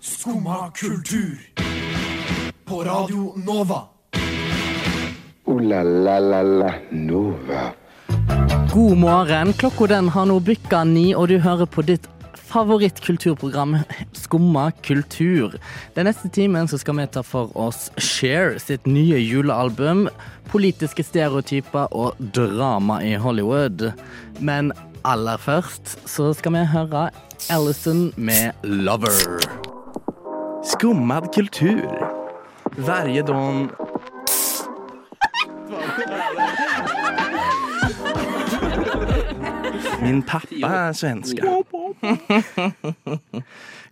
Skumma kultur. På Radio Nova. Ooh la la la la Nova. God morgen. Klokka den har nå bikka ni, og du hører på ditt favorittkulturprogram Skumma kultur. Den neste timen så skal vi ta for oss Cher sitt nye julealbum, politiske stereotyper og drama i Hollywood. Men aller først så skal vi høre Alison med 'Lover'. Skummad kultur. Varje dag... Min pappa er svenska.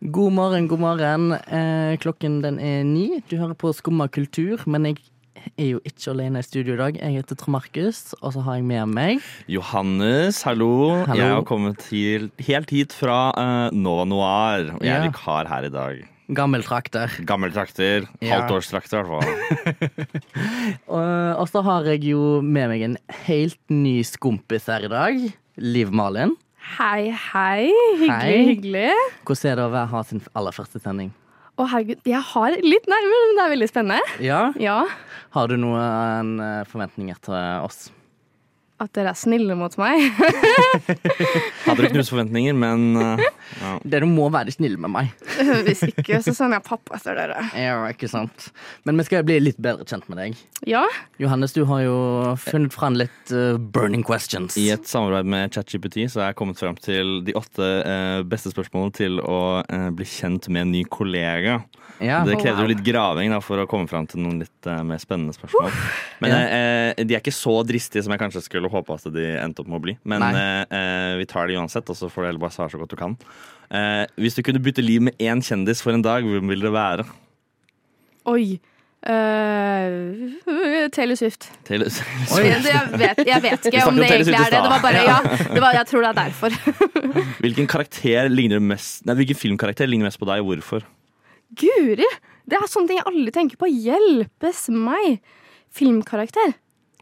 God morgen, god morgen. Eh, klokken den er ni. Du hører på Skumma kultur, men jeg er jo ikke alene i studio i dag. Jeg heter Trond Markus, og så har jeg med meg Johannes, hallo. Hallo. Jeg har kommet til, helt hit fra eh, Nova Noir. Og jeg Ja. er vikar her i dag. gammeltrakter. Gammel trakter. Ja. Halvtårstrakter, i hvert fall. Og, og så har jeg jo med meg en helt ny skompis her i dag. Liv Malin. Hei, hei. Hyggelig, Hei. hyggelig. Hvordan er det å være- ha sin aller første sending? Å, herregud, jeg har litt nerver, men det er veldig spennende. Ja. Ja, Har du noen eh, forventninger til oss? At dere er snille mot meg. Hadde ikke noen forventninger, men eh, Dere må være snille med meg. Hvis ikke, så sender jeg pappa etter dere. Ja, ikke sant? Men vi skal bli litt bedre kjent med deg. Ja, Johannes, du har jo funnet fram litt eh, burning questions. i et samarbeid med ChatGPT så er jeg kommet frem til de åtte eh, beste spørsmålene til å eh, bli kjent med en ny kollega. Ja. Det wow. krevde jo litt graving da, for å komme fram til noen litt eh, mer spennende spørsmål. Men eh, de er ikke så dristige som jeg kanskje skulle håpe at de endte opp med å bli. Men Nei. eh, eh, vi tar det uansett, og så får du heller bare svare så godt du kan. Eh, hvis du kunne bytte liv med én kjendis for en dag, hvem ville det være? oi. Uh, Taylor Swift. Taylor- Så Jeg, jeg, vet, jeg vet ikke snakket om om det Taylor egentlig Swift i er det. Det var stad. bare, ja, det var, jeg tror det er derfor. Hvilken karakter ligner du mest Nei, hvilken filmkarakter ligner mest på deg, og hvorfor? Guri! Det er sånne ting jeg aldri tenker på. Hjelpes meg! Filmkarakter.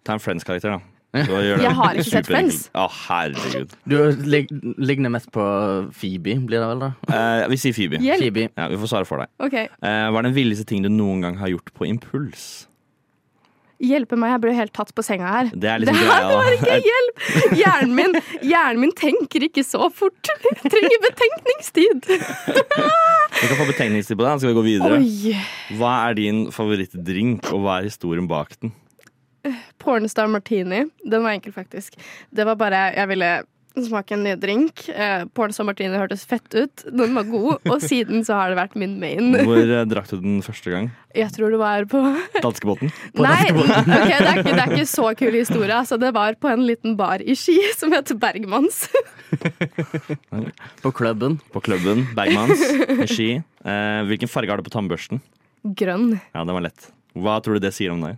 Ta en Friends-karakter, da. Så gjør det Jeg har ikke sett superenkelt. Friends. Å, herregud. Du lig ligner mest på Phoebe, blir det vel da? Eh, vi sier Phoebe. Hjelp! Phoebe. Ja, vi får svare for deg. Ok. Eh, hva er den villeste ting du noen gang har gjort på impuls? Hjelpe meg, jeg ble helt tatt på senga her. Det er liksom Det greia, da. var ikke hjelp! Hjernen min, hjernen min tenker ikke så fort. Jeg trenger betenkningstid. Vi kan få betenkningstid på det. da Skal vi gå videre? Oi! Hva er din favorittdrink, og hva er historien bak den? Pornstar martini. Den var enkel, faktisk. Det var bare Jeg ville smake en ny drink. Eh, Pornstar martini hørtes fett ut. Den var god, og siden så har det vært min main. Hvor eh, drakk du den første gang? Jeg tror det var på Danskebåten? Nei, ok, det, er ikke, det er ikke så kul historie. Altså, det var på en liten bar i Ski som heter Bergmanns. På klubben. På klubben? Bergmans? Med ski? Eh, hvilken farge har du på tannbørsten? Grønn. Ja, den var lett. Hva tror du det sier om deg?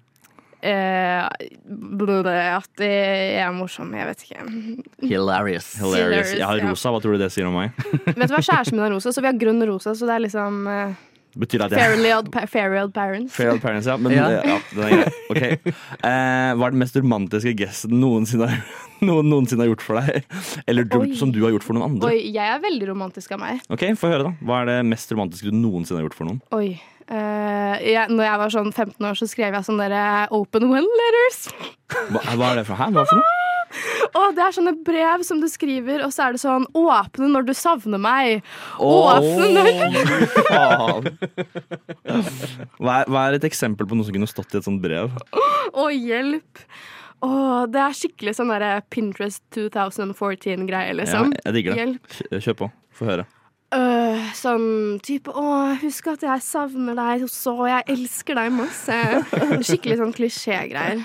Eh, bl- Eh, at jeg er morsom. Jeg vet ikke. Hilarious. Hilarious. Jeg har ja. rosa. Hva tror du det sier om meg? Vet du hva, Kjæresten min har rosa, så vi har grønn rosa. Så det er liksom eh, Betyr det at jeg fairly, odd, pa- fairly odd parents. Fair old parents, ja. Men Ja. eh, ja, den er grei. Ok. Eh, hva er den mest romantiske gesten noensinne, har- noen noensinne har gjort for deg? Eller du, Oi. som du har gjort for noen andre? Oi, jeg er veldig romantisk av meg. Ok, Få høre, da. Hva er det mest romantiske du noensinne har gjort for noen? Oi. Eh, jeg, når jeg var sånn 15 år, så skrev jeg sånne der open well letters. Hva, hva er det for, hæ? Hva for noe? Å, det er sånne brev som du skriver, og så er det sånn Åpne når du savner meg. Åpne når Åh, faen. Hva er, hva er et eksempel på noe som kunne stått i et sånt brev? Å, hjelp. Å, det er skikkelig sånn derre Pinterest 2014-greie, liksom. Ja, jeg digger det. Hjelp. Kjø- Kjør på. Få høre. Øh, sånn type Å, husk at jeg savner deg så, jeg elsker deg masse. Skikkelig sånn klisjégreier.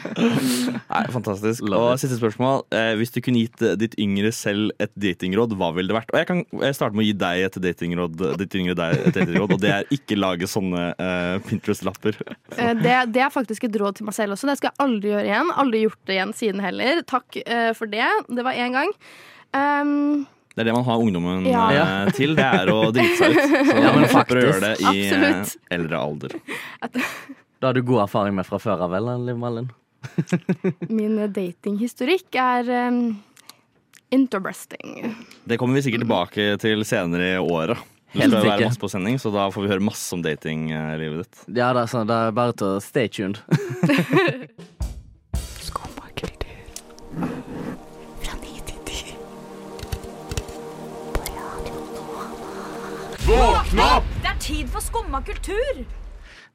Nei, fantastisk. Og siste spørsmål. Eh, hvis du kunne gitt eh, ditt yngre selv et datingråd, hva ville det vært? Og jeg kan eh, starte med å gi deg et datingråd, eh, ditt yngre deg et datingråd, og det er ikke lage sånne eh, Pinterest-lapper. Eh, det, det er faktisk et råd til meg selv også. Det skal jeg aldri gjøre igjen. Aldri gjort det igjen siden heller. Takk eh, for det. Det var én gang. Ehm, Det er det man har ungdommen Ja. eh, til. Det er å drite seg ut. Så Ja, men man slipper å gjøre det i eh, Absolutt. eldre alder. Det har du god erfaring med fra før av, vel, Liv Malin? min datinghistorikk er ehm, interesting. Det kommer vi sikkert tilbake til senere i året. Du Helt skal jo være sikker. masse på sending, så da får vi høre masse om datinglivet ditt. Ja, det er, sånn, det er bare til å stay tuned. Det er tid for skumma kultur!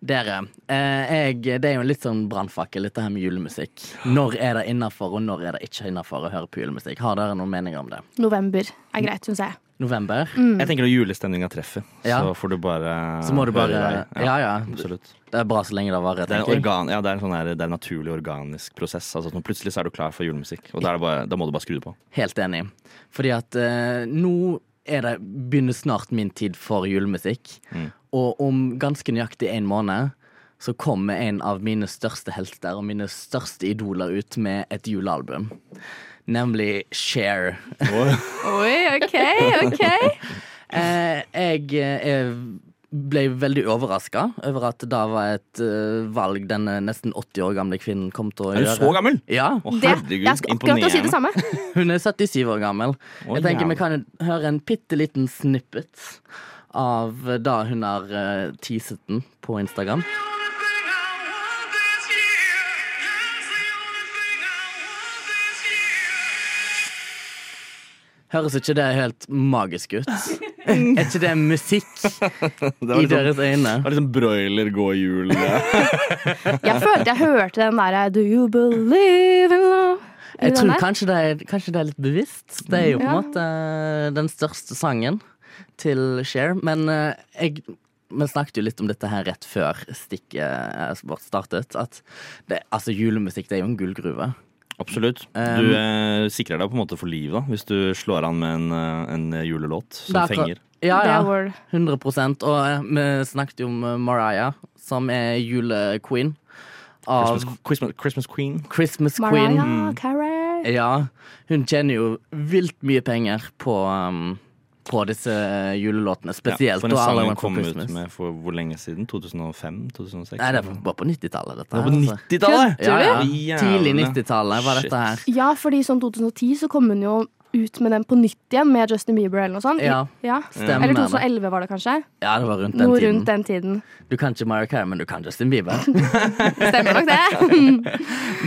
Dere, eh, jeg, det er jo litt sånn brannfakkel, dette her med julemusikk. Når er det innafor, og når er det ikke innafor å høre på julemusikk? Har dere noen meninger om det? November er greit, syns jeg. November? Jeg tenker når julestemninga treffer, Mm. Ja. så får du bare Så må du bare høre i vei. Ja, ja. Absolutt. Det er bra så lenge det varer. Det er, en tenker jeg. organ, ja, det, er en sånn her, det er en naturlig organisk prosess. Altså, at nå plutselig så er du klar for julemusikk, og da, er det bare, da må du bare skru det på. Helt enig. Fordi at eh, nå er det, begynner snart min tid for julemusikk. Mm. Og om ganske nøyaktig en måned så kommer en av mine største helter og mine største idoler ut med et julealbum. Nemlig Share. Oi, OK, OK. Eh, jeg eh, ble veldig overraska over at det var et eh, valg denne nesten 80 år gamle kvinnen kom til å Er du gjøre. så gammel? Ja, Å, Det, herregud, jeg skal akkurat til å si det samme. Hun er 77 år gammel. Å, jeg tenker jævla. Vi kan høre en bitte liten snippet av da hun har eh, teaset den på Instagram. Høres ikke det helt magisk ut? er ikke det musikk Det i var litt sånn, deres øyne? det var litt sånn broiler gå i jul. Jeg følte jeg hørte den derre Do you believe in love? Er Jeg det den tror der? kanskje det, er, kanskje det er litt bevisst. Det er jo på en Ja. måte eh, den største sangen til Cher. Men eh, jeg vi snakket jo litt om dette her rett før stikket eh, vårt startet. At det, altså, julemusikk det er jo en gullgruve. Absolutt. Um, Du eh, sikrer deg på en måte for livet da, hvis du slår an med en, eh, en julelåt Det som er akkurat- fenger. Ja, Det er ja. Word. 100 Og eh, vi snakket jo om eh, Mariah, som er julequeen av Christmas, Christmas, Christmas Queen. Christmas Queen. Mariah Carey. Ja, hun tjener jo vilt mye penger på, um, på disse eh, julelåtene, Ja, spesielt. for en og All I Want sang hun for kom ut Christmas. med for hvor lenge siden? 2005-2006? Nei, det var bare på 90-tallet, dette. på her, altså. 90-tallet! Ja, ja. Jævla. Tidlig 90-tallet var Shit. dette her. Ja, fordi sånn 2010 så kom hun jo ut med den på nytt igjen med Justin Bieber eller noe sånt. Ja. Stemmer Eller det. 2011 var det kanskje. Ja, det var rundt den Noe tiden. rundt den tiden. Du kan ikke Mariah Carey, men du kan Justin Bieber. Stemmer nok det.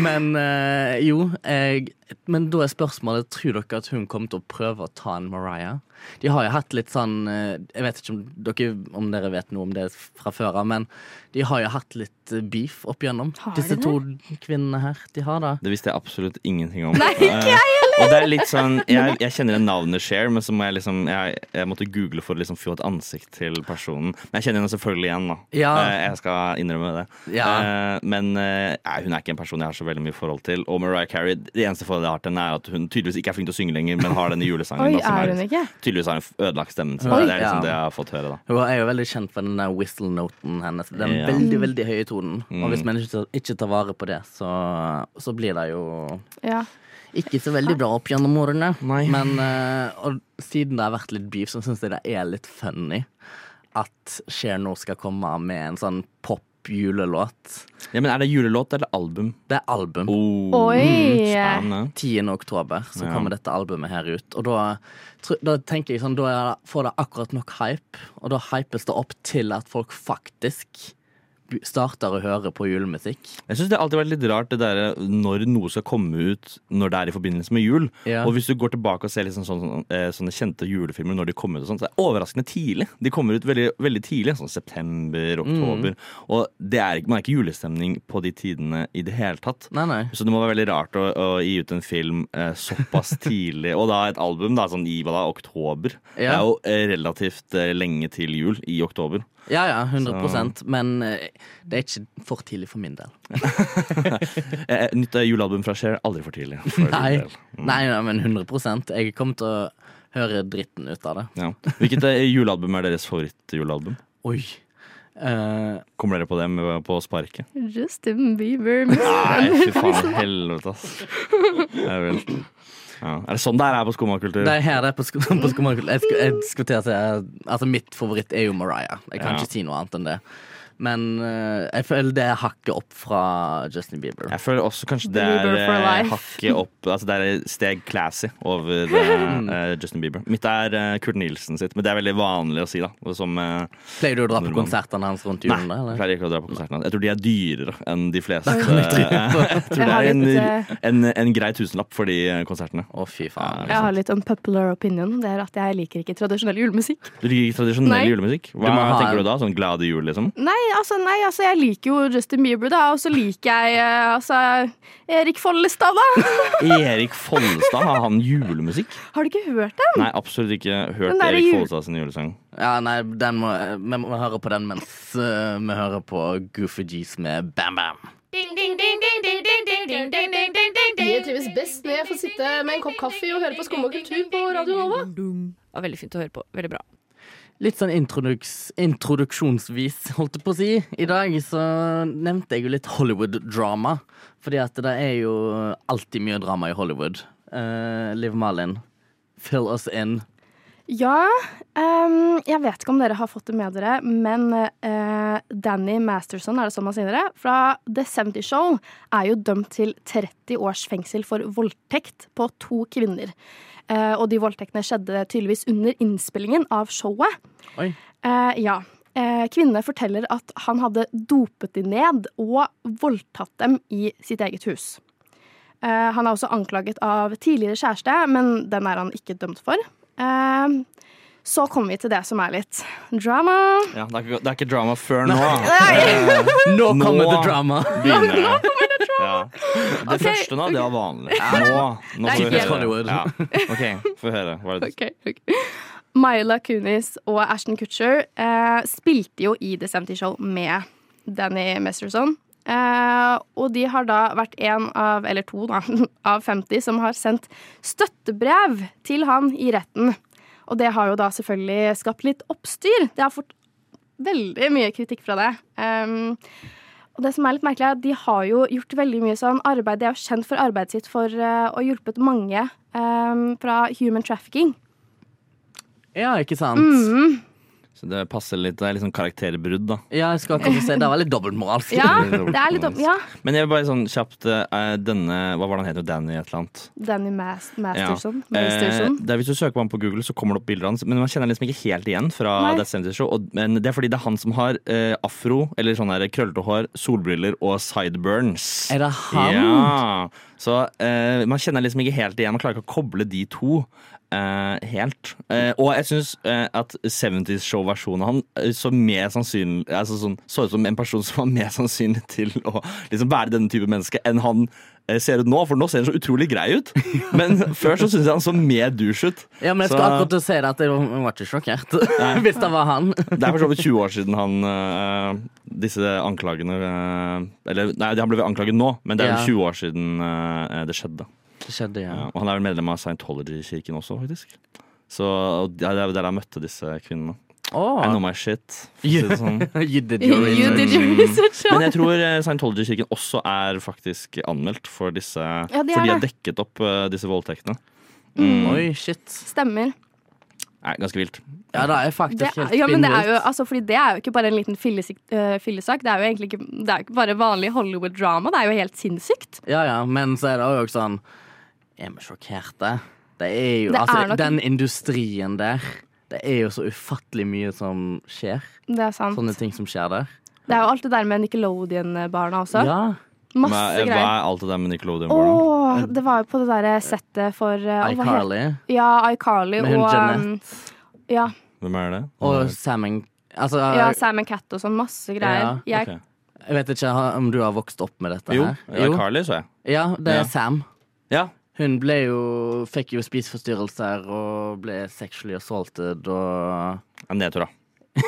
men eh, jo, jeg, men da er spørsmålet Tror dere at hun kommer til å prøve å ta en Mariah? De har jo hatt litt sånn eh, Jeg vet ikke om dere, om dere vet noe om det fra før av, men de har jo hatt litt eh, beef opp igjennom. Har de Disse to kvinnene her. De har det. Det visste jeg absolutt ingenting om. Nei, ikke jeg heller Og det er litt sånn, jeg, jeg kjenner igjen navnet Cher, men så må jeg liksom Jeg, jeg måtte google for å liksom få et ansikt til personen. Men jeg kjenner henne selvfølgelig igjen, da. Ja. Eh, Jeg skal innrømme det. Ja. Eh, Men eh, nei, hun er ikke en person jeg har så veldig mye forhold til. Og Mariah Carey, det eneste forholdet jeg har til henne, er at hun tydeligvis ikke er flink til å synge lenger, men har denne julesangen. Oi, da, som er hun ikke? Tydeligvis har hun ødelagt stemmen sin. Oi. Det er Ja. liksom det jeg har fått høre, da. Hun er jo veldig kjent for den der whistle-noten hennes. Den Ja. veldig, veldig høye tonen. Og hvis man ikke tar, ikke tar vare på det, så, så blir det jo Ja. ikke så veldig bra opp gjennom årene. Men eh, og siden det har vært litt beef, så syns jeg det er litt funny at Cher nå skal komme med en sånn pop-julelåt. Ja, men er det julelåt eller album? Det er album. Oh, Mm, Oi. spennende. 10. oktober så Ja. kommer dette albumet her ut. Og da, tr- da tenker jeg sånn, da er det- får det akkurat nok hype, og da hypes det opp til at folk faktisk bu- starter å høre på julemusikk. Jeg synes det har alltid vært litt rart det der, når noe skal komme ut når det er i forbindelse med jul. Ja. Og hvis du går tilbake og ser liksom sånne, sånne kjente julefilmer når de kommer ut, og sånt, så er det overraskende tidlig. De kommer ut veldig, veldig tidlig, sånn september, oktober. Og det er, ikke- man er ikke julestemning på de tidene i det hele tatt. Nei, nei. Så det må være veldig rart å, å gi ut en film eh, såpass tidlig, og da et album da, sånn i hva da, oktober. Det Ja. er jo eh, relativt eh, lenge til jul i oktober. Ja ja, 100 men eh, det er ikke for tidlig for min del. Eh, nytt eh, julealbum fra Cher, aldri for tidlig. for din Nei, del. nei, nei men 100 Jeg kommer til å høre dritten ut av det. Ja. Hvilket eh, julealbum er deres favorittjulealbum? Oi. Eh, Kommer dere på det med, på sparket? Justin Bieber. Miss Nei, fy faen. Helvete, ass. Ja, vel. Ja. Er det sånn det er her på skummakultur? det er her det er på sko- på skomakerkultur. Jeg, sku- jeg skulle til å si eh, Altså, mitt favoritt er jo Mariah. Jeg kan Ja. ikke si noe annet enn det. Men eh, jeg føler det er hakket opp fra Justin Bieber. Jeg føler også kanskje det er Bieber for eh, life. hakket opp Altså det er et steg classy over Hmm. eh, eh, Justin Bieber. Mitt er eh, Kurt Nielsen sitt, men det er veldig vanlig å si, da. Og Som eh, Pleier du å dra på Nordmann. konsertene hans rundt Nei, julen? da, jeg eller? pleier ikke å dra på konsertene hans. Jeg tror de er dyrere enn de fleste. kan jeg tro Eh, jeg tror Jeg det har er en, litt, eh, en, en grei tusenlapp for de eh, konsertene. Å, fy faen. liksom. Jeg har litt unpopular opinion. Det er at jeg liker ikke tradisjonell julemusikk. Du liker ikke tradisjonell Nei. julemusikk? Hva Du må ha tenker en- du da? Sånn Glade jul, liksom? Nei, altså, nei, altså jeg liker jo Justin Bieber, da, og så liker jeg eh, altså Erik Follestad, da. Erik Follestad, har han julemusikk? Har du ikke hørt det? Nei, absolutt ikke hørt Den der Erik jul- Follestad sin julesang. Ja, nei, den må, vi må høre på den mens eh, vi hører på Goofy G's med Bam Bam. Jeg trives best når jeg får sitte med en kopp kaffe og høre på Skum og kultur på Radio Nova. Ja, veldig fint å høre på. Veldig bra. Litt sånn introduks, introduksjonsvis, holdt jeg på å si. I dag så nevnte jeg jo litt Hollywood-drama. Fordi at det er jo alltid mye drama i Hollywood. Eh, Liv Malin, fill us in. Ja. ehm, jeg vet ikke om dere har fått det med dere, men eh, Danny Masterson, er det sånn man sier det? Fra The 70 Show er jo dømt til 30 års fengsel for voldtekt på to kvinner. Eh, og de voldtektene skjedde tydeligvis under innspillingen av showet. Oi. Eh, ja. Eh, kvinnene forteller at han hadde dopet dem ned og voldtatt dem i sitt eget hus. Eh, han er også anklaget av tidligere kjæreste, men den er han ikke dømt for. Eh, så kommer vi til det som er litt drama. Ja, det, er ikke, det er ikke drama før nå. Eh, Nå kommer Nå. the drama! Begynner jeg. Ja. Det Ok, første nå, det var vanlig. Nå, nå Nei, får vi ikke høre. Hollywood. Ja. Ok, få høre. Hva er det? Ok, ok. Myla Kunis og Ashton Kutcher eh, spilte jo i The 70 Show med Danny Mesterson. Eh, og de har da vært en av, eller to da, av 50 som har sendt støttebrev til han i retten. Og det har jo da selvfølgelig skapt litt oppstyr. Det har fått veldig mye kritikk fra det. Um, og det som er litt merkelig er at De har jo gjort veldig mye sånn arbeid. De er jo kjent for arbeidet sitt for eh, å ha hjulpet mange eh, fra human trafficking. Ja, ikke sant? Mhm. Så det passer litt, det er litt sånn karakterbrudd, da. Ja, jeg skal kanskje si Det var litt dobbeltmoralsk. Ja, det er litt opp... Ja. Men jeg vil bare sånn kjapt eh, denne Hva var det han het? Danny et eller annet? Danny Mas Ja. Masterson. Eh, Masterson. det er hvis du søker på ham på Google, så kommer det opp bilder av hans. Men man kjenner liksom ikke helt igjen fra Nei. Death Sentence Show. Og, men det er fordi det er han som har eh, afro, eller sånn her krøllete hår, solbriller og sideburns. Er det han? Ja. Ah, Så eh, man kjenner liksom ikke helt igjen. Man klarer ikke å koble de to. eh, helt. Eh, og jeg syns at 70's Show-versjonen av han eh, så mer sannsynlig altså sånn, så ut som en person som var mer sannsynlig til å liksom være denne type menneske enn han eh, ser ut nå. For nå ser han så utrolig grei ut, men før så syns jeg han så mer douche ut. Ja, men jeg skal Så- akkurat til å si det at jeg var- jeg var ikke sjokkert. Hvis det var han. Det er for så vidt 20 år siden han eh, disse anklagene eh, Eller nei, han ble vel anklaget nå, men det er Ja. vel 20 år siden eh, det skjedde. Det skjedde, ja. Ja, og han er vel medlem av Scientology-kirken også, faktisk. Så og det er der han møtte disse kvinnene. I know Åh. my shit. for å si det sånn. You did your You research. did your research, ja. Men jeg tror eh, Scientology-kirken også er faktisk anmeldt for disse de er For de har det. dekket opp eh, disse voldtektene. Oi, shit. Stemmer. Nei, ganske vilt. Ja, det er faktisk Det, helt ja, men det er, jo, spinnvilt. altså, fordi det er jo ikke bare en liten fillesik- eh, fillesak. Det er jo egentlig ikke, det er jo ikke bare vanlig Hollywood-drama. Det er jo helt sinnssykt. Ja, ja, men så er det jo også sånn Er vi sjokkerte? Det er jo Det er Altså, nok- den industrien der Det er jo så ufattelig mye som skjer. Det er sant. Sånn Sånne ting som skjer der. Det er jo alt det der med Nickelodeon-barna også. Ja. Hva, Masse hva greier. er alt det der med Nickelodeon? Å, Warren? det var jo på det derre settet for eh, hva het- iCarly Ja, iCarly med hun og um, Jeanette ja, Hvem er det? og Salmon Altså, ja, Sam and Cat og sånn. Masse greier. Ja, Jeg, ok. jeg vet ikke om du har vokst opp med dette Jo, her? ja, Carly, så jeg. Ja, det er Ja. Sam. Ja. Hun ble jo Fikk jo spiseforstyrrelser og ble sexually assaulted og En nedtur, da.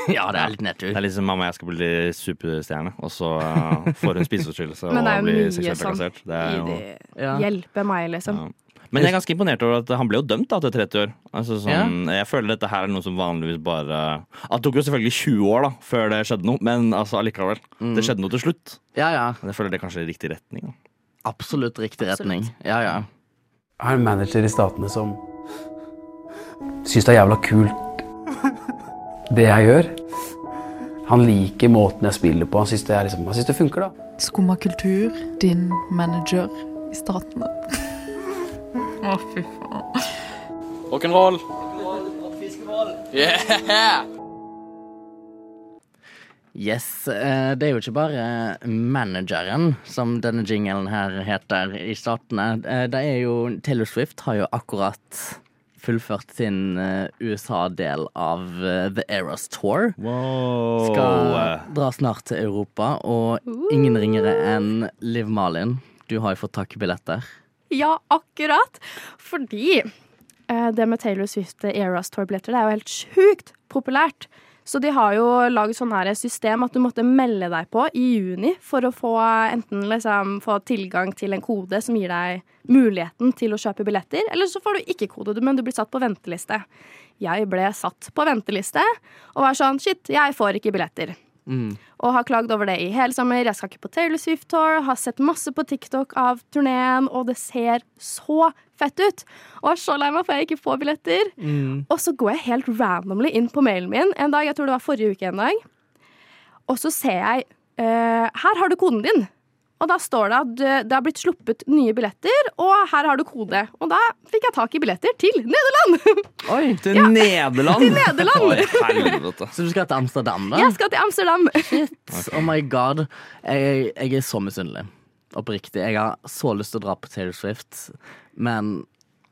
Ja, det er litt Det nedtur. er liksom mamma, jeg skal bli superstjerne, og så eh, får hun spiseforstyrrelse Men og det er jo blir mye seksuelt sånn trakassert. Det er i jo det, Ja. hjelpe meg, liksom. Ja. Men jeg er ganske imponert over at han ble jo dømt da til 30 år. Altså sånn, Jeg føler dette her er noe som vanligvis bare ah, Det tok jo selvfølgelig 20 år da før det skjedde noe, men altså allikevel. Det skjedde noe til slutt. ja, ja. Men jeg føler det er kanskje i riktig retning. Da. Absolutt riktig retning. Ja, ja. er en manager i statene som syns det er jævla kult det jeg gjør. Han liker måten jeg spiller på. Han syns det, er liksom, han synes det funker, da. Skumma kultur, din manager i staten. Å, fy faen. Rock'n'roll. Yeah! Yes, eh, det er jo ikke bare manageren, som denne jingelen her heter i statene. Eh, Det er jo Taylor Swift har jo akkurat fullført sin eh, USA-del av eh, The Eras Tour. eh, Skal dra snart til Europa, og ingen ringere enn Liv Malin. Du har jo fått tak i billetter. Ja, akkurat. Fordi eh, det med Taylor Swift Eras Tour-billetter det er jo helt sjukt populært. Så de har jo laget sånn her system at du måtte melde deg på i juni for å få enten liksom få tilgang til en kode som gir deg muligheten til å kjøpe billetter, eller så får du ikke kode, men du blir satt på venteliste. Jeg ble satt på venteliste og var sånn shit, jeg får ikke billetter. Og har klagd over det i hele sommer. Jeg skal ikke på Taylor Swift Tour. Har sett masse på TikTok av turneen, og det ser så fett ut. Og er så lei meg for jeg ikke får billetter. Og så går jeg helt randomly inn på mailen min en dag, jeg tror det var forrige uke en dag. Og så ser jeg eh, Her har du koden din. Og da står det at eh, det har blitt sluppet nye billetter, og her har du kode. Og da fikk jeg tak i billetter til Nederland! Oi, Til Nederland! Til Nederland. Oi, helvete. Så du skal til Amsterdam, da? Jeg skal til Amsterdam. Oh my god. Jeg, jeg er så misunnelig. Oppriktig. Jeg har så lyst til å dra på Taylor Swift, men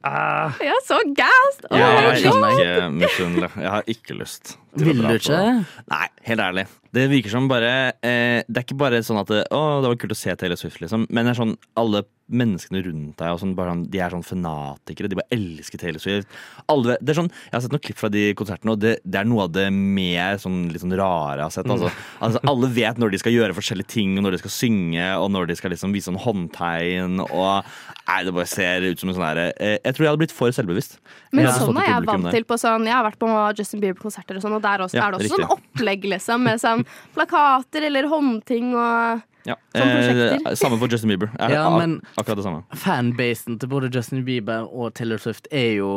ah, Jeg er så gassed! Oh, Jeg my er God. ikke misunnelig. Jeg har ikke lyst. til å Vil dra du på ikke? det. Nei, helt ærlig. Det virker som bare eh, Det er ikke bare sånn at det, Å, det var kult å se Taylor Swift, liksom. Men det er sånn alle menneskene rundt deg og sånn, bare, sånn- de er sånn fanatikere. De bare elsker Taylor Swift. Alle, det er sånn, jeg har sett noen klipp fra de konsertene, og det, det er noe av det mer sånn, litt sånn rare jeg har sett. Altså, Mm. altså, alle vet når de skal gjøre forskjellige ting, og når de skal synge, og når de skal liksom vise sånn håndtegn, og Nei, det bare ser ut som en sånn herre eh, Jeg tror jeg hadde blitt for selvbevisst. Men Jeg hadde sånn stått i er jeg publikum vant der. til på sånn Jeg har vært på Justin Bieber-konserter og sånn, og der også, Ja, er det også riktig. sånn opplegg, liksom, med sånn plakater eller håndting og Ja. Sånn Eh, prosjekter. samme for Justin Bieber. Er Ja, ak- men- Akkurat det samme. fanbasen til både Justin Bieber og Taylor Swift er jo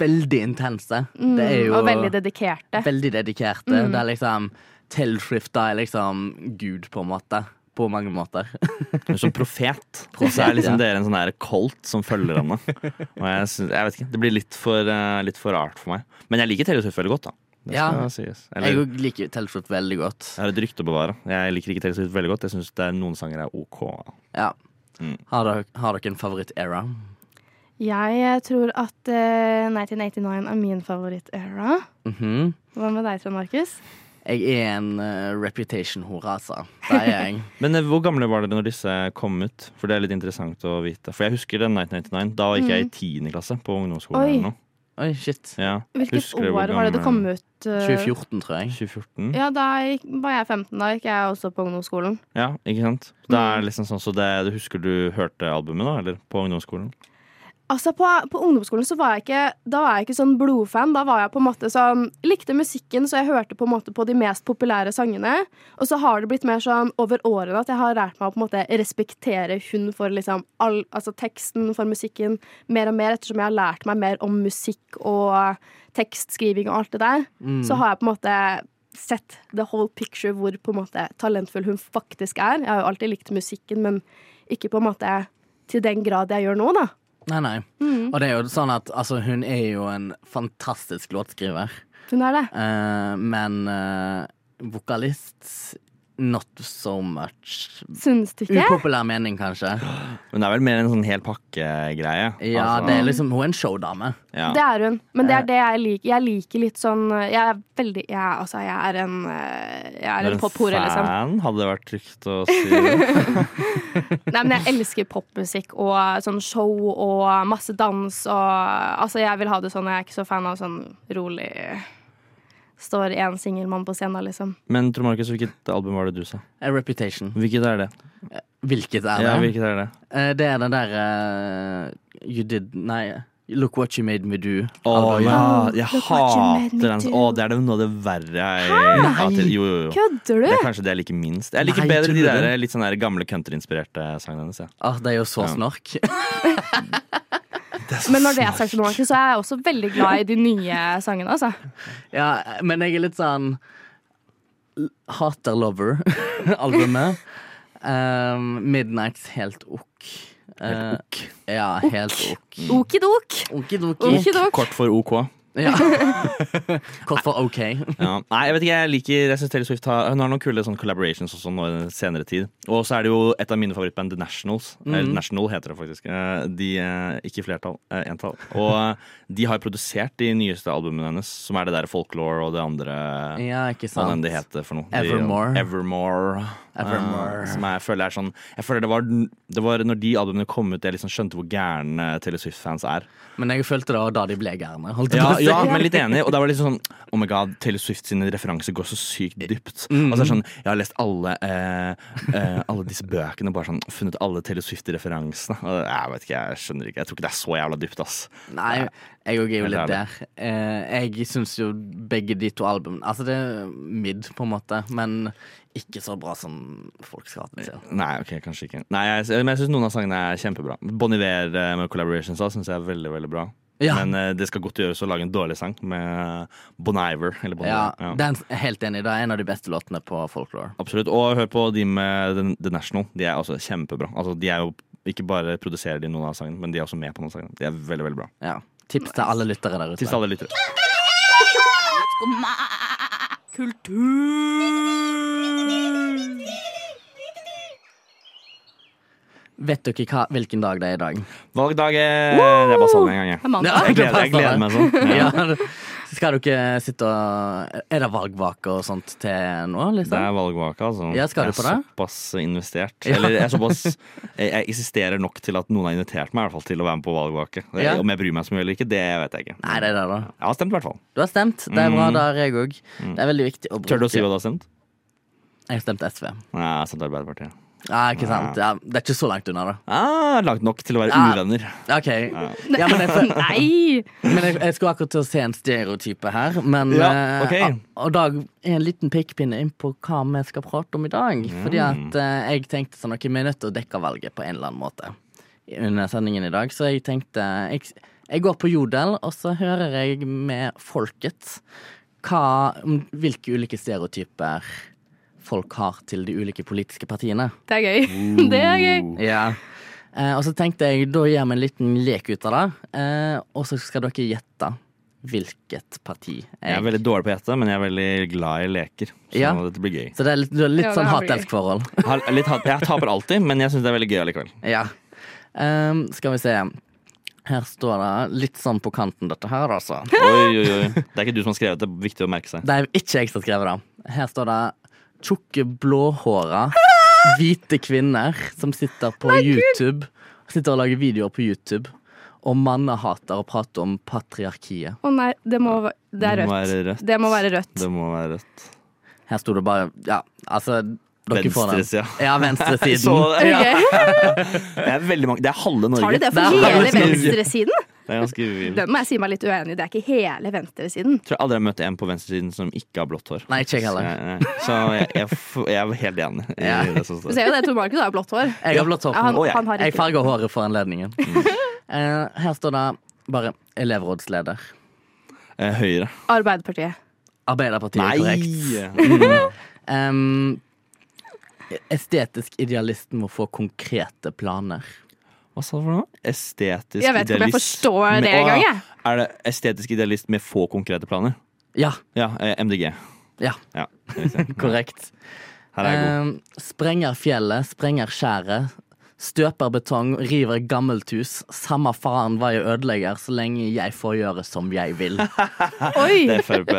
veldig intense. mm, det er jo Og veldig dedikerte. veldig dedikerte. Mm. Det er liksom Taylor Swift da er liksom Gud, på en måte. På mange måter. Hun er som profet. Og så Profet, er liksom ja. dere en sånn der kolt som følger henne. Og jeg, syns- jeg vet ikke, Det blir litt for, eh, litt for rart for meg. Men jeg liker Taylor Swift veldig godt, da. Det Ja. skal sies. Eller, Jeg jeg, òg liker jo Taylor Swift veldig godt. har et rykte å bevare. Jeg liker ikke Taylor Swift veldig godt. Jeg syns noen sanger er OK. Ja. Mm. Har, dere, har dere en favoritt-era? Jeg tror at eh, 1989 er min favoritt-era. Mhm. Hva med deg, Trond Markus? Jeg er en eh, reputation-hore, altså. Det er jeg. Men eh, hvor gamle var dere når disse kom ut? For det er litt interessant å vite. For jeg husker den 1999. Da gikk jeg i Mm. tiende klasse på ungdomsskolen. Oi. eller noe. Oi, shit. Ja. Hvilket Husker dere hvor år var det det kom gammel- ut? eh, 2014, tror jeg. 2014? Ja, da gikk, var jeg 15, da gikk jeg også på ungdomsskolen. Ja, ikke sant? Det er liksom sånn, så det, du husker du hørte albumet da, eller på ungdomsskolen? Altså på, på ungdomsskolen så var jeg ikke Da var jeg ikke sånn blodfan. Da var jeg på en måte sånn Likte musikken, så jeg hørte på en måte på de mest populære sangene. Og så har det blitt mer sånn over årene at jeg har lært meg å på en måte respektere hun for liksom all Altså teksten for musikken mer og mer, ettersom jeg har lært meg mer om musikk og tekstskriving og alt det der. Mm. Så har jeg på en måte sett the whole picture hvor på en måte talentfull hun faktisk er. Jeg har jo alltid likt musikken, men ikke på en måte til den grad jeg gjør nå, da. Nei, nei. Mm. Og det er jo sånn at altså, hun er jo en fantastisk låtskriver. Hun er det. Eh, men eh, vokalist Not so much. Syns du ikke? Upopulær mening, kanskje. Men det er vel mer en sånn hel pakkegreie. Ja, altså, det er liksom, Hun er en showdame. ja. Eh. Det er hun. Men det er det jeg liker. Jeg liker litt sånn Jeg er veldig Jeg, er- altså, jeg er en eh, Jeg er Du en pophore, liksom. fan, hadde det vært trygt å si. det. Nei, men jeg elsker popmusikk og sånn show og masse dans og Altså, jeg vil ha det sånn. Jeg er ikke så fan av sånn rolig Står én singel mann på scenen, liksom. Men Trond Markus, hvilket album var det du sa? A Eh, reputation. Hvilket er det? Hvilket er det? Ja, hvilket er det? Eh, det er den der eh, You did Nei, Look What You Made Me Do. Å albumet. ja, jeg Look what you made hater me den. do. Å, det er det noe av det verre jeg har til. Jo, jo, jo. Det Kødder du? er kanskje det jeg liker minst. Jeg liker Nei, bedre de tuller du? der litt sånn der gamle countryinspirerte sangene hennes. Ja. Ah, det er jo så Ja. snork. Men når det er sagt, Markus, så er jeg også veldig glad i de nye sangene, altså. ja, men jeg er litt sånn Hater Lover-albumet. Um, Midnights helt ok. Eh, ja, helt ok. Okidok. Okidoki. Okidok. Mm. Kort for OK. Ja. Kort for OK. Ja. Nei, jeg vet ikke, jeg liker jeg synes Taylor Swift har, Hun har noen kule sånne collaborations også nå i senere tid. Og så er det jo et av mine favorittband, The Nationals. Eller Mhm. National heter det faktisk. Eh, De, eh, ikke flertall, eh, entall. Og eh, de har produsert de nyeste albumene hennes, som er det der Folklore og det andre Ja, ikke Hva enn sant. det heter for noe. Evermore. De, Evermore. eh, Evermore. som jeg føler er sånn Jeg føler det var, det var når de albumene kom ut, jeg liksom skjønte hvor gærne Taylor Swift-fans er. Men jeg følte det var da de ble gærne. holdt jeg Ja, på å si. ja, men litt enig. Og det var liksom sånn Oh my god, Taylor Swift sine referanser går så sykt dypt. Mm, Og så er det sånn Jeg har lest alle eh, eh, Alle disse bøkene og bare sånn funnet alle Taylor Swift-referansene. Og Jeg vet ikke, jeg skjønner ikke. Jeg tror ikke det er så jævla dypt, ass. Nei, jeg òg er jo Helt litt ærlig. der. Eh, jeg syns jo begge de to albumene Altså, det er midd, på en måte, men ikke så bra som folk skal ha det til. Nei, ok, kanskje ikke. Nei, jeg, men jeg syns noen av sangene er kjempebra. Bon Iver eh, med collaborations da, syns jeg er veldig, veldig bra. Ja. Men eh, det skal godt gjøres å lage en dårlig sang med Bon Iver. Eller bon Ja, Iver, ja. den er helt enig. Det er en av de beste låtene på folklore. Absolutt. Og hør på de med The- The National. De er også kjempebra. Altså, de er jo ikke bare produserer de noen av sangene, men de er også med på noen av sangene. De er veldig, veldig bra. Ja. Tips til alle lyttere der ute. Tips til alle lyttere. Skumma kultur. Vet dere hva, hvilken dag det er i dag? Valgdag er Det er bare sånn en gang, jeg. Det er mandag. Jeg gleder, jeg gleder meg sånn. Ja. Ja. Skal dere sitte og Er det valgvake og sånt til nå, Det er liksom? valgvake, altså. Ja, skal du jeg er på det? såpass investert. Ja. Eller jeg, er såpass, jeg, jeg eksisterer nok til at noen har invitert meg i hvert fall til å være med på valgvake. Ja. Om jeg bryr meg så mye eller ikke, det vet jeg ikke. Nei, det er det, da. Jeg har stemt, i hvert fall. Du har stemt. Det er bra, Mm. der jeg òg. Det er veldig viktig å bruke Tør du å si hva du har stemt? Jeg har stemt SV. Nei, jeg har stemt Arbeiderpartiet. Ja, ikke sant? Ja, det er ikke så langt unna, da. Ah, langt nok til å være Ja. uvenner. OK. Ja, men jeg, føl- Nei! men jeg, jeg skulle akkurat til å se en stereotype her, men Ja, eh, ok. a- Og Dag er en liten pekepinne inn på hva vi skal prate om i dag. Fordi at eh, jeg tenkte sånn, ok, vi er nødt til å dekke valget på en eller annen måte under sendingen i dag, så jeg tenkte Jeg, jeg går på Jodel, og så hører jeg med folket hva, om hvilke ulike stereotyper folk har til de ulike politiske partiene. Det er gøy. Mm. Det er gøy. Ja. Eh, og så tenkte jeg, da gjør vi en liten lek ut av det. Eh, og så skal dere gjette hvilket parti Jeg er jeg veldig dårlig på å gjette, men jeg er veldig glad i leker. Så Ja. dette blir gøy. Så det er litt, det er litt Ja, det sånn her blir hat-elsk forhold. Har, litt, hat- jeg taper alltid, men jeg syns det er veldig gøy allikevel. Ja. Ehm, skal vi se. Her står det litt sånn på kanten, dette her, altså. Oi, oi, oi. Det er ikke du som har skrevet det, det er viktig å merke seg. Det er ikke jeg som har skrevet det. Her står det tjukke, blåhåra, hvite kvinner som sitter på YouTube. Sitter og lager videoer på YouTube. Og mannehater og prater om patriarkiet. Å nei, det må va- Det er Det må rødt. være rødt. Det må være rødt. Det må være rødt. Her sto det bare Ja, altså dere får den. Venstresida. Ja, venstresiden. Så- ja. Ok. Det er veldig mange. Det er halve Norge. Tar de det Det er for hele ganske- venstresiden? Det er ganske vilt. Den må jeg si meg litt uenig i. Det er ikke hele venstresiden. Jeg tror aldri jeg har møtt en på venstresiden som ikke har blått hår. Nei, ikke jeg heller. Så, jeg- så jeg, jeg, f- jeg er helt enig. i Ja. det som Du står. ser jo det, Tor Markus har blått hår. Jeg har blått hår. Ja, han, Å, jeg- han har Jeg ikke farger håret for anledningen. Eh, her står det bare elevrådsleder. Eh, Høyre. Arbeiderpartiet. Arbeiderpartiet er korrekt. Em, estetisk idealist må få konkrete planer. Hva sa du for noe? Estetisk idealist. Jeg vet ikke om jeg forstår det med- Å, engang, ja. jeg. Er det estetisk idealist med få konkrete planer? Ja. Ja, eh, MDG. Ja, Ja, riktig. korrekt. Her er jeg god. Em, sprenger fjellet, sprenger skjæret. Støper betong, river gammelt hus. Samme faen hva jeg ødelegger, så lenge jeg får gjøre som jeg vil. Det Oi! er FrP.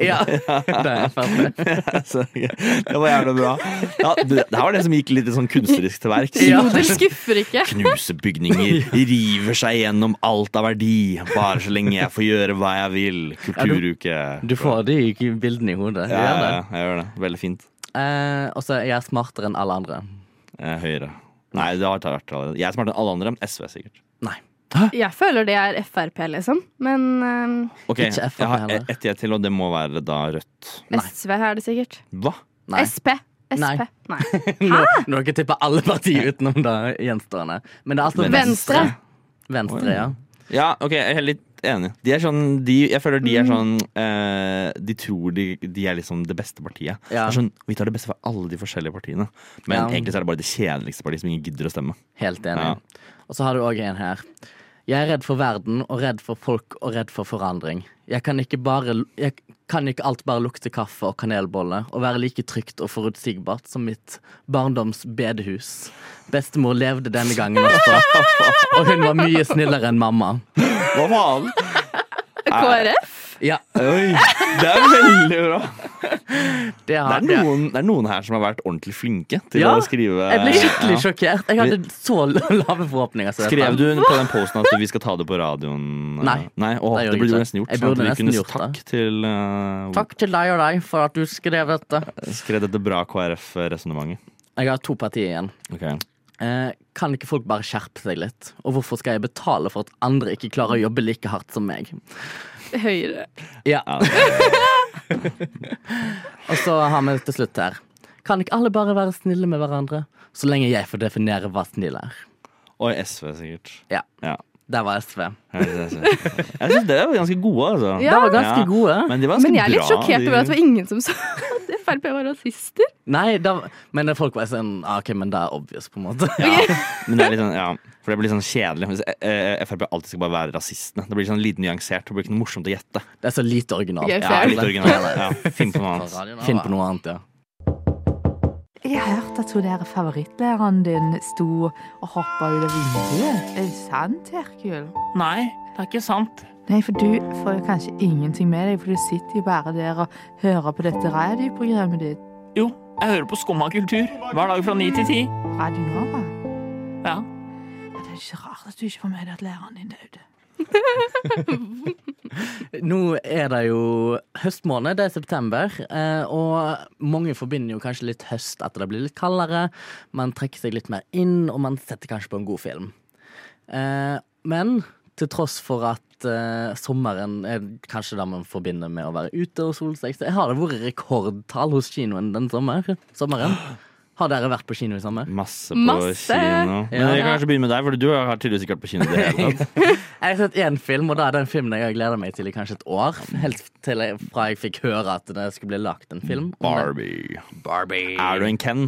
Ja, det er ferdig. Så gøy. Det var jævlig bra. Ja, det, det her var det som gikk litt sånn kunstnerisk til verks. Odel skuffer ikke. Knuser bygninger, river seg gjennom alt av verdi. Bare så lenge jeg får gjøre hva jeg vil. Kulturuke. Du får de bildene i hodet. Ja, Gjør ja, det. ja, jeg gjør det. Veldig fint. Eh, og så er jeg smartere enn alle andre. Eh, Høyre. Nei, det har jeg vært allerede. Jeg er smartere enn alle andre. men SV, sikkert. Nei. Jeg føler det er Frp, liksom. Men ehm, Ok, Ikke Jeg F E. har heller. ett jeg til, og det må være da Rødt. SV er det sikkert. Hva? Nei. SP. Nei. SP. Nei. Når, når dere tipper alle partier utenom det gjenstående. Men det er altså Venstre. Venstre, ja. Ja, ok, jeg er litt Enig. De er sånn, de, jeg føler de Mm. er sånn eh, De tror de, de er liksom det beste partiet. Ja. Det er Sånn, vi tar det beste fra alle de forskjellige partiene. Men Ja. egentlig så er det bare det kjedeligste partiet som ingen gidder å stemme. Helt enig. Og så har du òg en her. Jeg er redd for verden og redd for folk og redd for forandring. Jeg kan ikke, bare, jeg kan ikke alt bare lukte kaffe og kanelbolle og være like trygt og forutsigbart som mitt barndoms bedehus. Bestemor levde denne gangen også, og hun var mye snillere enn mamma. Hva faen? KrF? Ja. Oi, det er veldig bra. Det, er det er- noen, det er noen her som har vært ordentlig flinke til Ja, å skrive. Jeg ble skikkelig Ja. sjokkert. Jeg hadde så lave forhåpninger. til dette. Skrev du på den posten at vi skal ta det på radioen? Nei. åh, Det gjorde det burde jeg du ikke. nesten gjort. Jeg sånn at burde vi nesten kunne gjort takk til eh, Takk til deg og deg for at du skrev dette. Skrev dette bra KrF-resonnementet. Jeg har to partier igjen. Okay. Eh, kan ikke folk bare skjerpe seg litt? Og hvorfor skal jeg betale for at andre ikke klarer å jobbe like hardt som meg? Høyre. Ja. og så har vi til slutt her. Kan ikke alle bare være snille med hverandre? Så lenge jeg får definere hva snill er. Og SV, sikkert. Ja. Der var SV. Jeg syns dere var ganske gode, altså. Ja. Dere var ganske gode. Men de var ganske Men jeg er litt bra, sjokkert de- over at det var ingen som sa at Frp var rasister. Nei, da, men folk var sånn ah, OK, men det er obvious, på en måte. Men det er litt sånn, ja For det blir sånn kjedelig hvis eh, eh, Frp alltid skal bare være rasistene. Det blir sånn lite nyansert. Det blir ikke noe morsomt å gjette. Det er så lite originalt. Ja, litt originalt. Ja, finn på noe annet. Finn på noe annet, ja. Jeg har hørt at hun der favorittlæreren din sto og hoppa ut av vinduet. Er det sant, Herkul? Nei, det er ikke sant. Nei, for du får jo kanskje ingenting med deg, for du sitter jo bare der og hører på dette radioprogrammet ditt. Jo, jeg hører på Skumma kultur hver dag fra ni til ti. Radio Nova. Ja. Det er ikke rart at du ikke får med deg at læreren din døde. Nå er det jo høstmåned, det er september, eh, og mange forbinder jo kanskje litt høst at det blir litt kaldere. Man trekker seg litt mer inn, og man setter kanskje på en god film. Eh, Men til tross for at eh, sommeren er kanskje det man forbinder med å være ute og sole seg, så har det vært rekordtall hos kinoen den sommer, sommeren. Har dere vært på kino i sommer? Masse på kino. Men jeg kan kanskje begynne med deg, for du har tydeligvis ikke vært på kino i det hele tatt. Jeg har sett én film, og da er den filmen jeg har gleda meg til i kanskje et år. Helt til jeg, fra jeg fikk høre at det skulle bli lagt en film. om den. Barbie. Er du en Ken?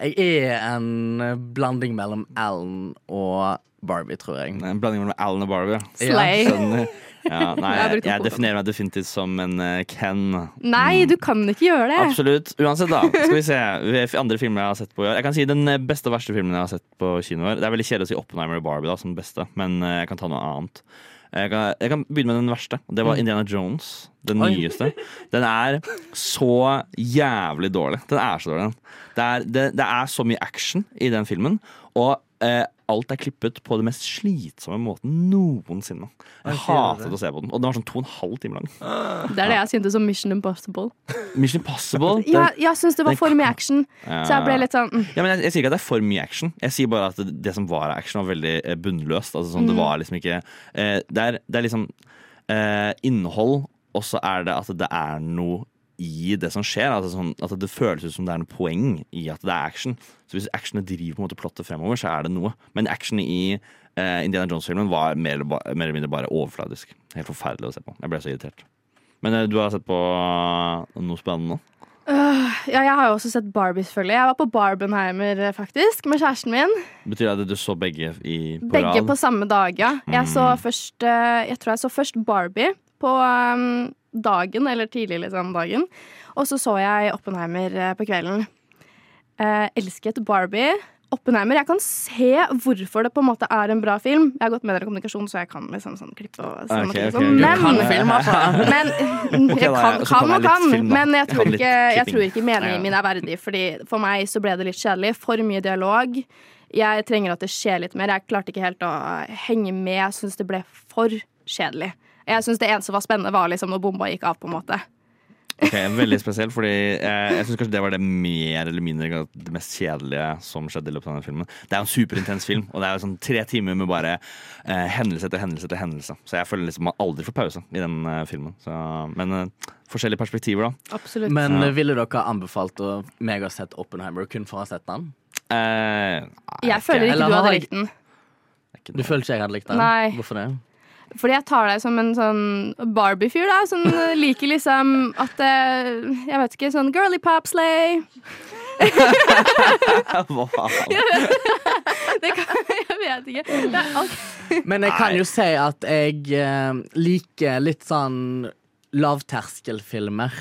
Jeg er en eh, blanding mellom Alan og Barbie, tror jeg. En blanding mellom Alan og Barbie. Ja. Slay. Skjønner. Ja, nei, Jeg har jeg, brukt opp definerer meg definitivt som en eh, Ken. Nei, du kan ikke gjøre det. Absolutt. Uansett, da. Skal vi se. Vi- Andre filmer jeg har sett på i år. Jeg kan si Den eh, beste og verste filmen jeg har sett på kino i år. Det er veldig kjedelig å si Oppenheimer og Barbie da, som den beste, men eh, jeg kan ta noe annet. Jeg kan, jeg kan begynne med den verste. Det var Mm. Indiana Jones. Den Oi. nyeste. Den er så jævlig dårlig. Den er så dårlig, den. Det er, det, det er så mye action i den filmen, og eh, alt er klippet på den mest slitsomme måten noensinne. Oi, Jeg sier du det? hatet å se på den. Og den var sånn to og en halv time lang. Det er det jeg syntes om Mission Impossible. Mission Impossible. den- Jeg, jeg syns det var den for mye action, Ja. så jeg ble litt sånn mm. Ja, men jeg, jeg sier ikke at det er for mye action. Jeg sier bare at det, det som var av action, var veldig eh, bunnløst. Altså, sånn, Det Mm. var liksom ikke eh, det, er, det er liksom eh, innhold, og så er det at det er noe i det som skjer. Altså, sånn, at det føles ut som det er noe poeng i at det er action. Så hvis actionet driver på en måte plottet fremover, så er det noe. Men action i eh, Indiana Jones-filmen var mer, eller ba- mer eller mindre bare overfladisk. Helt forferdelig å se på. Jeg ble så irritert. Men eh, du har sett på eh, noe spennende? Øh, Ja, jeg har jo også sett Barbie, selvfølgelig. Jeg var på Barbenheimer eh, faktisk med kjæresten min. Betyr det at du så begge i, på Begge rad? på samme dag, ja. Jeg, så Mm. først, eh, jeg tror jeg så først Barbie på um, dagen, eller tidlig liksom dagen. Og så så jeg Oppenheimer eh, på kvelden. Eh, elsket Barbie. Oppenheimer, Jeg kan se hvorfor det på en måte er en bra film. Jeg har gått med dere i kommunikasjon, så jeg kan liksom sånn klippe og Ok, sånne ting. ok. Liksom. Du Men, kan film, altså. men Ok, jeg da, så kan kan, kan jeg og litt kan, film, da. men jeg Jeg tror kan litt ikke, jeg klipping. tror ikke Ja, ja. meningen min er verdig. Fordi For meg så ble det litt kjedelig. For mye dialog. Jeg trenger at det skjer litt mer. Jeg klarte ikke helt å henge med. Jeg syns det ble for kjedelig. Jeg syns det eneste som var spennende, var liksom når bomba gikk av, på en måte. Ok, Veldig spesiell, fordi eh, jeg synes kanskje det var det mer eller mindre det mest kjedelige som skjedde i løpet av denne filmen. Det er jo en superintens film, og det er jo sånn tre timer med bare eh, hendelse etter hendelse etter hendelse. Så jeg føler liksom man aldri får pause i den eh, filmen. Så, men eh, forskjellige perspektiver, da. Absolutt. Men Ja. eh, ville dere anbefalt å, meg å sette Oppenheimer kun for å ha sett den? Eh, Jeg føler ikke Eller du har hadde jeg- likt den. Du føler ikke jeg hadde likt den? Nei. Hvorfor det? Fordi jeg tar deg som en sånn Barbie-fyr, da. Som liker liksom at eh, Jeg vet ikke, sånn girly pop slay. Wow. Det kan, jeg vet ikke. Det er alt. Men jeg kan jo si at jeg eh, liker litt sånn lavterskelfilmer.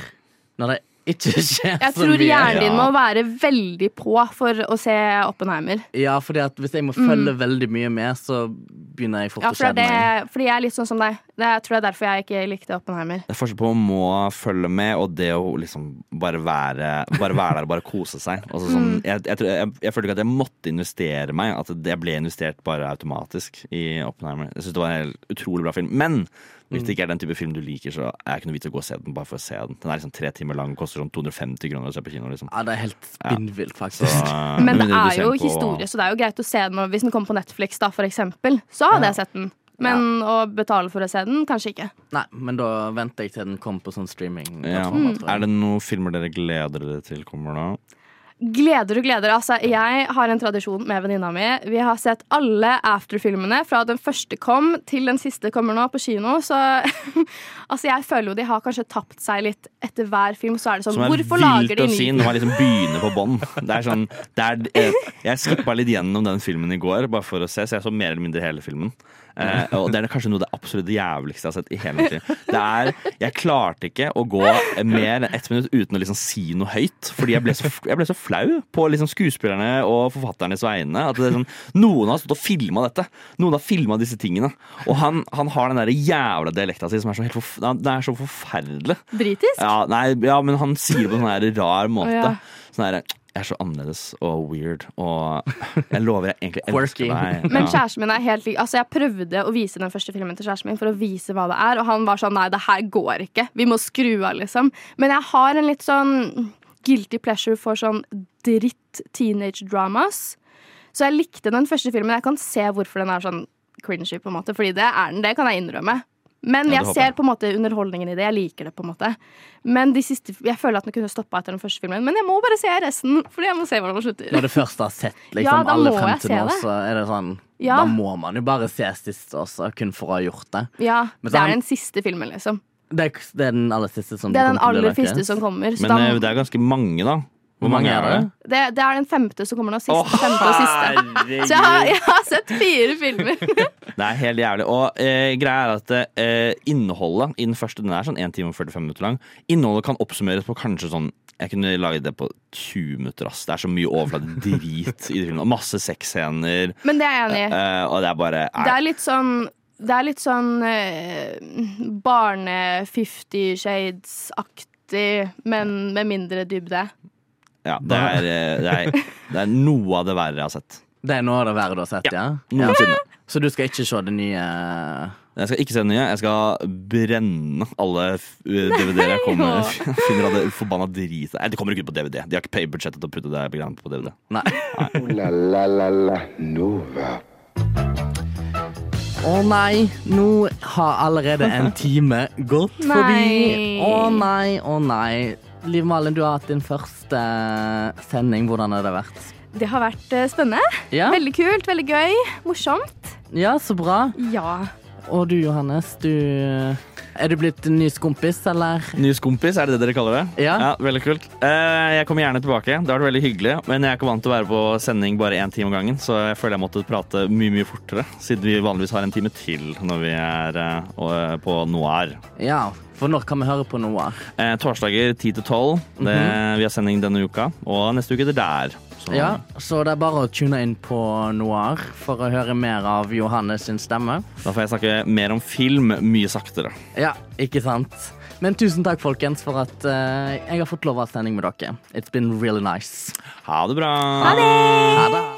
Når det ikke skjer Jeg så mye. tror hjernen din må være veldig på for å se Oppenheimer. Ja, fordi at hvis jeg må Mm. følge veldig mye med, så begynner jeg fort Ja, å for kjede det meg. er det, fordi jeg er litt sånn som deg. Det jeg tror jeg er derfor jeg ikke likte Oppenheimer. Det er forskjell på å må følge med og det å liksom bare være, bare være der og bare kose seg. Altså sånn, Mm. jeg, jeg, tror- jeg, jeg følte ikke at jeg måtte investere meg, at det ble investert bare automatisk i Oppenheimer. Jeg synes det var en helt utrolig bra film. Men hvis Mm. det ikke er den type film du liker, så er det ikke noe vits å gå og se den bare for å se den. Den er liksom tre timer lang og koster sånn 250 kroner å se på kino. Liksom. eh, Ja, det er helt spinnvilt, faktisk. Men det er jo historie, så det er jo greit å se den. Og hvis den kommer på Netflix, da, for eksempel, så hadde jeg sett den. Men å betale for å se den, kanskje ikke. Nei, men da venter jeg til den kommer på sånn streaming. Ja. Mm. Er det noen filmer dere gleder dere til kommer nå? Gleder og gleder. Altså, jeg har en tradisjon med venninna mi. Vi har sett alle After-filmene fra den første kom til den siste kommer nå på kino. Så altså, jeg føler jo de har kanskje tapt seg litt etter hver film. Så er det sånn, Som er hvorfor lager vilt de å ny si når man liksom begynner på bånn. Det er sånn, det er, eh, jeg skippa litt gjennom den filmen i går, bare for å se, så jeg så mer eller mindre hele filmen. Eh, og det er kanskje noe av det absolutt jævligste jeg har sett i hele mitt liv. Det er, jeg klarte ikke å gå mer enn ett minutt uten å liksom si noe høyt, fordi jeg ble så, jeg ble så flau på liksom skuespillerne og forfatternes vegne. At det er sånn, noen har stått og filma dette. Noen har filma disse tingene. Og han, han har den der jævla dialekta si som er så, helt forf den er så forferdelig. Britisk? Ja, nei, ja, men han sier det på sånn her rar måte. Å, ja. Sånn her Jeg er så annerledes og weird og Jeg lover, jeg egentlig elsker deg. Men Ja. kjæresten min er helt lik. Altså, jeg prøvde å vise den første filmen til kjæresten min for å vise hva det er, og han var sånn nei, det her går ikke. Vi må skru av, liksom. Men jeg har en litt sånn guilty pleasure for sånn dritt teenage dramas. Så jeg likte den første filmen. Jeg kan se hvorfor den er sånn cringy, på en måte. Fordi det er den. Det kan jeg innrømme. Ja, Men det jeg håper jeg. ser på en måte underholdningen i det. Jeg liker det. på en måte Men de siste, jeg føler at den kunne stoppa etter den første filmen. Men jeg må bare se resten, Fordi jeg må se hvordan den slutter. Når du først har sett liksom, Ja, da alle må frem jeg til se nå, det. så er det sånn Ja. Da må man jo bare se sist også, kun for å ha gjort det. Ja, Men så Det han- er den siste filmen, liksom. Det er, det er den aller siste som Det er den kommer til å aller leke. første som kommer. Så Men da, eh, det er ganske mange, da. Hvor mange er det? det, det er den femte som kommer nå. Siste, femte og siste. Så jeg har, jeg har sett fire filmer. Det er helt jævlig. Og eh, greia er at eh, innholdet i den første, den er sånn 1 time og 45 minutter lang, innholdet kan oppsummeres på kanskje sånn jeg kunne laget det på 20 minutter. ass. Det er så mye overfladig drit i filmen. Og masse sexscener. Men det er jeg enig i. Eh, og det er bare Det er litt sånn det er litt sånn eh, barne Fifty Shades-aktig, men med mindre dybde. Ja, det er, eh, det, er, det er noe av det verre jeg har sett. Det er noe av det verre du har sett, ja? Noensinne. Så du skal ikke se det nye eh, Jeg skal ikke se den nye. Jeg skal brenne alle f- eh, DVD-er jeg kommer Nei, jo. finner av det forbanna dritet. Nei, Det kommer ikke ut på DVD. De har ikke paybudsjettet til å putte det greiene på DVD. Ooh-la-la-la-la Nova. Å nei, nå har allerede en time gått forbi. Nei. Å nei, å nei. Liv Malin, du har hatt din første eh, sending. Hvordan har det vært? Det har vært eh, spennende. Ja. Veldig kult, veldig gøy, morsomt. Ja, så bra. Ja. Og du, Johannes, du eh, Er du blitt en ny skompis, eller? Nyskompis, er det det dere kaller det? Ja. Veldig kult. Eh, Jeg kommer gjerne tilbake. Det har vært veldig hyggelig. Men jeg er ikke vant til å være på sending bare én time om gangen, så jeg føler jeg måtte prate mye mye fortere. Siden vi vanligvis har en time til når vi er eh, og- på noir. Ja, for når kan vi høre på noe? Eh, Torsdager 10 til 12. Det- Mhm. Vi har sending denne uka. Og neste uke er det der. Så- Ja, så det er bare å tune inn på Noir for å høre mer av Johannes sin stemme. Da får jeg snakke mer om film mye saktere. Ja, ikke sant? Men tusen takk, folkens, for at eh, jeg har fått lov å ha sending med dere. It's been really nice. Ha det bra. Ha det.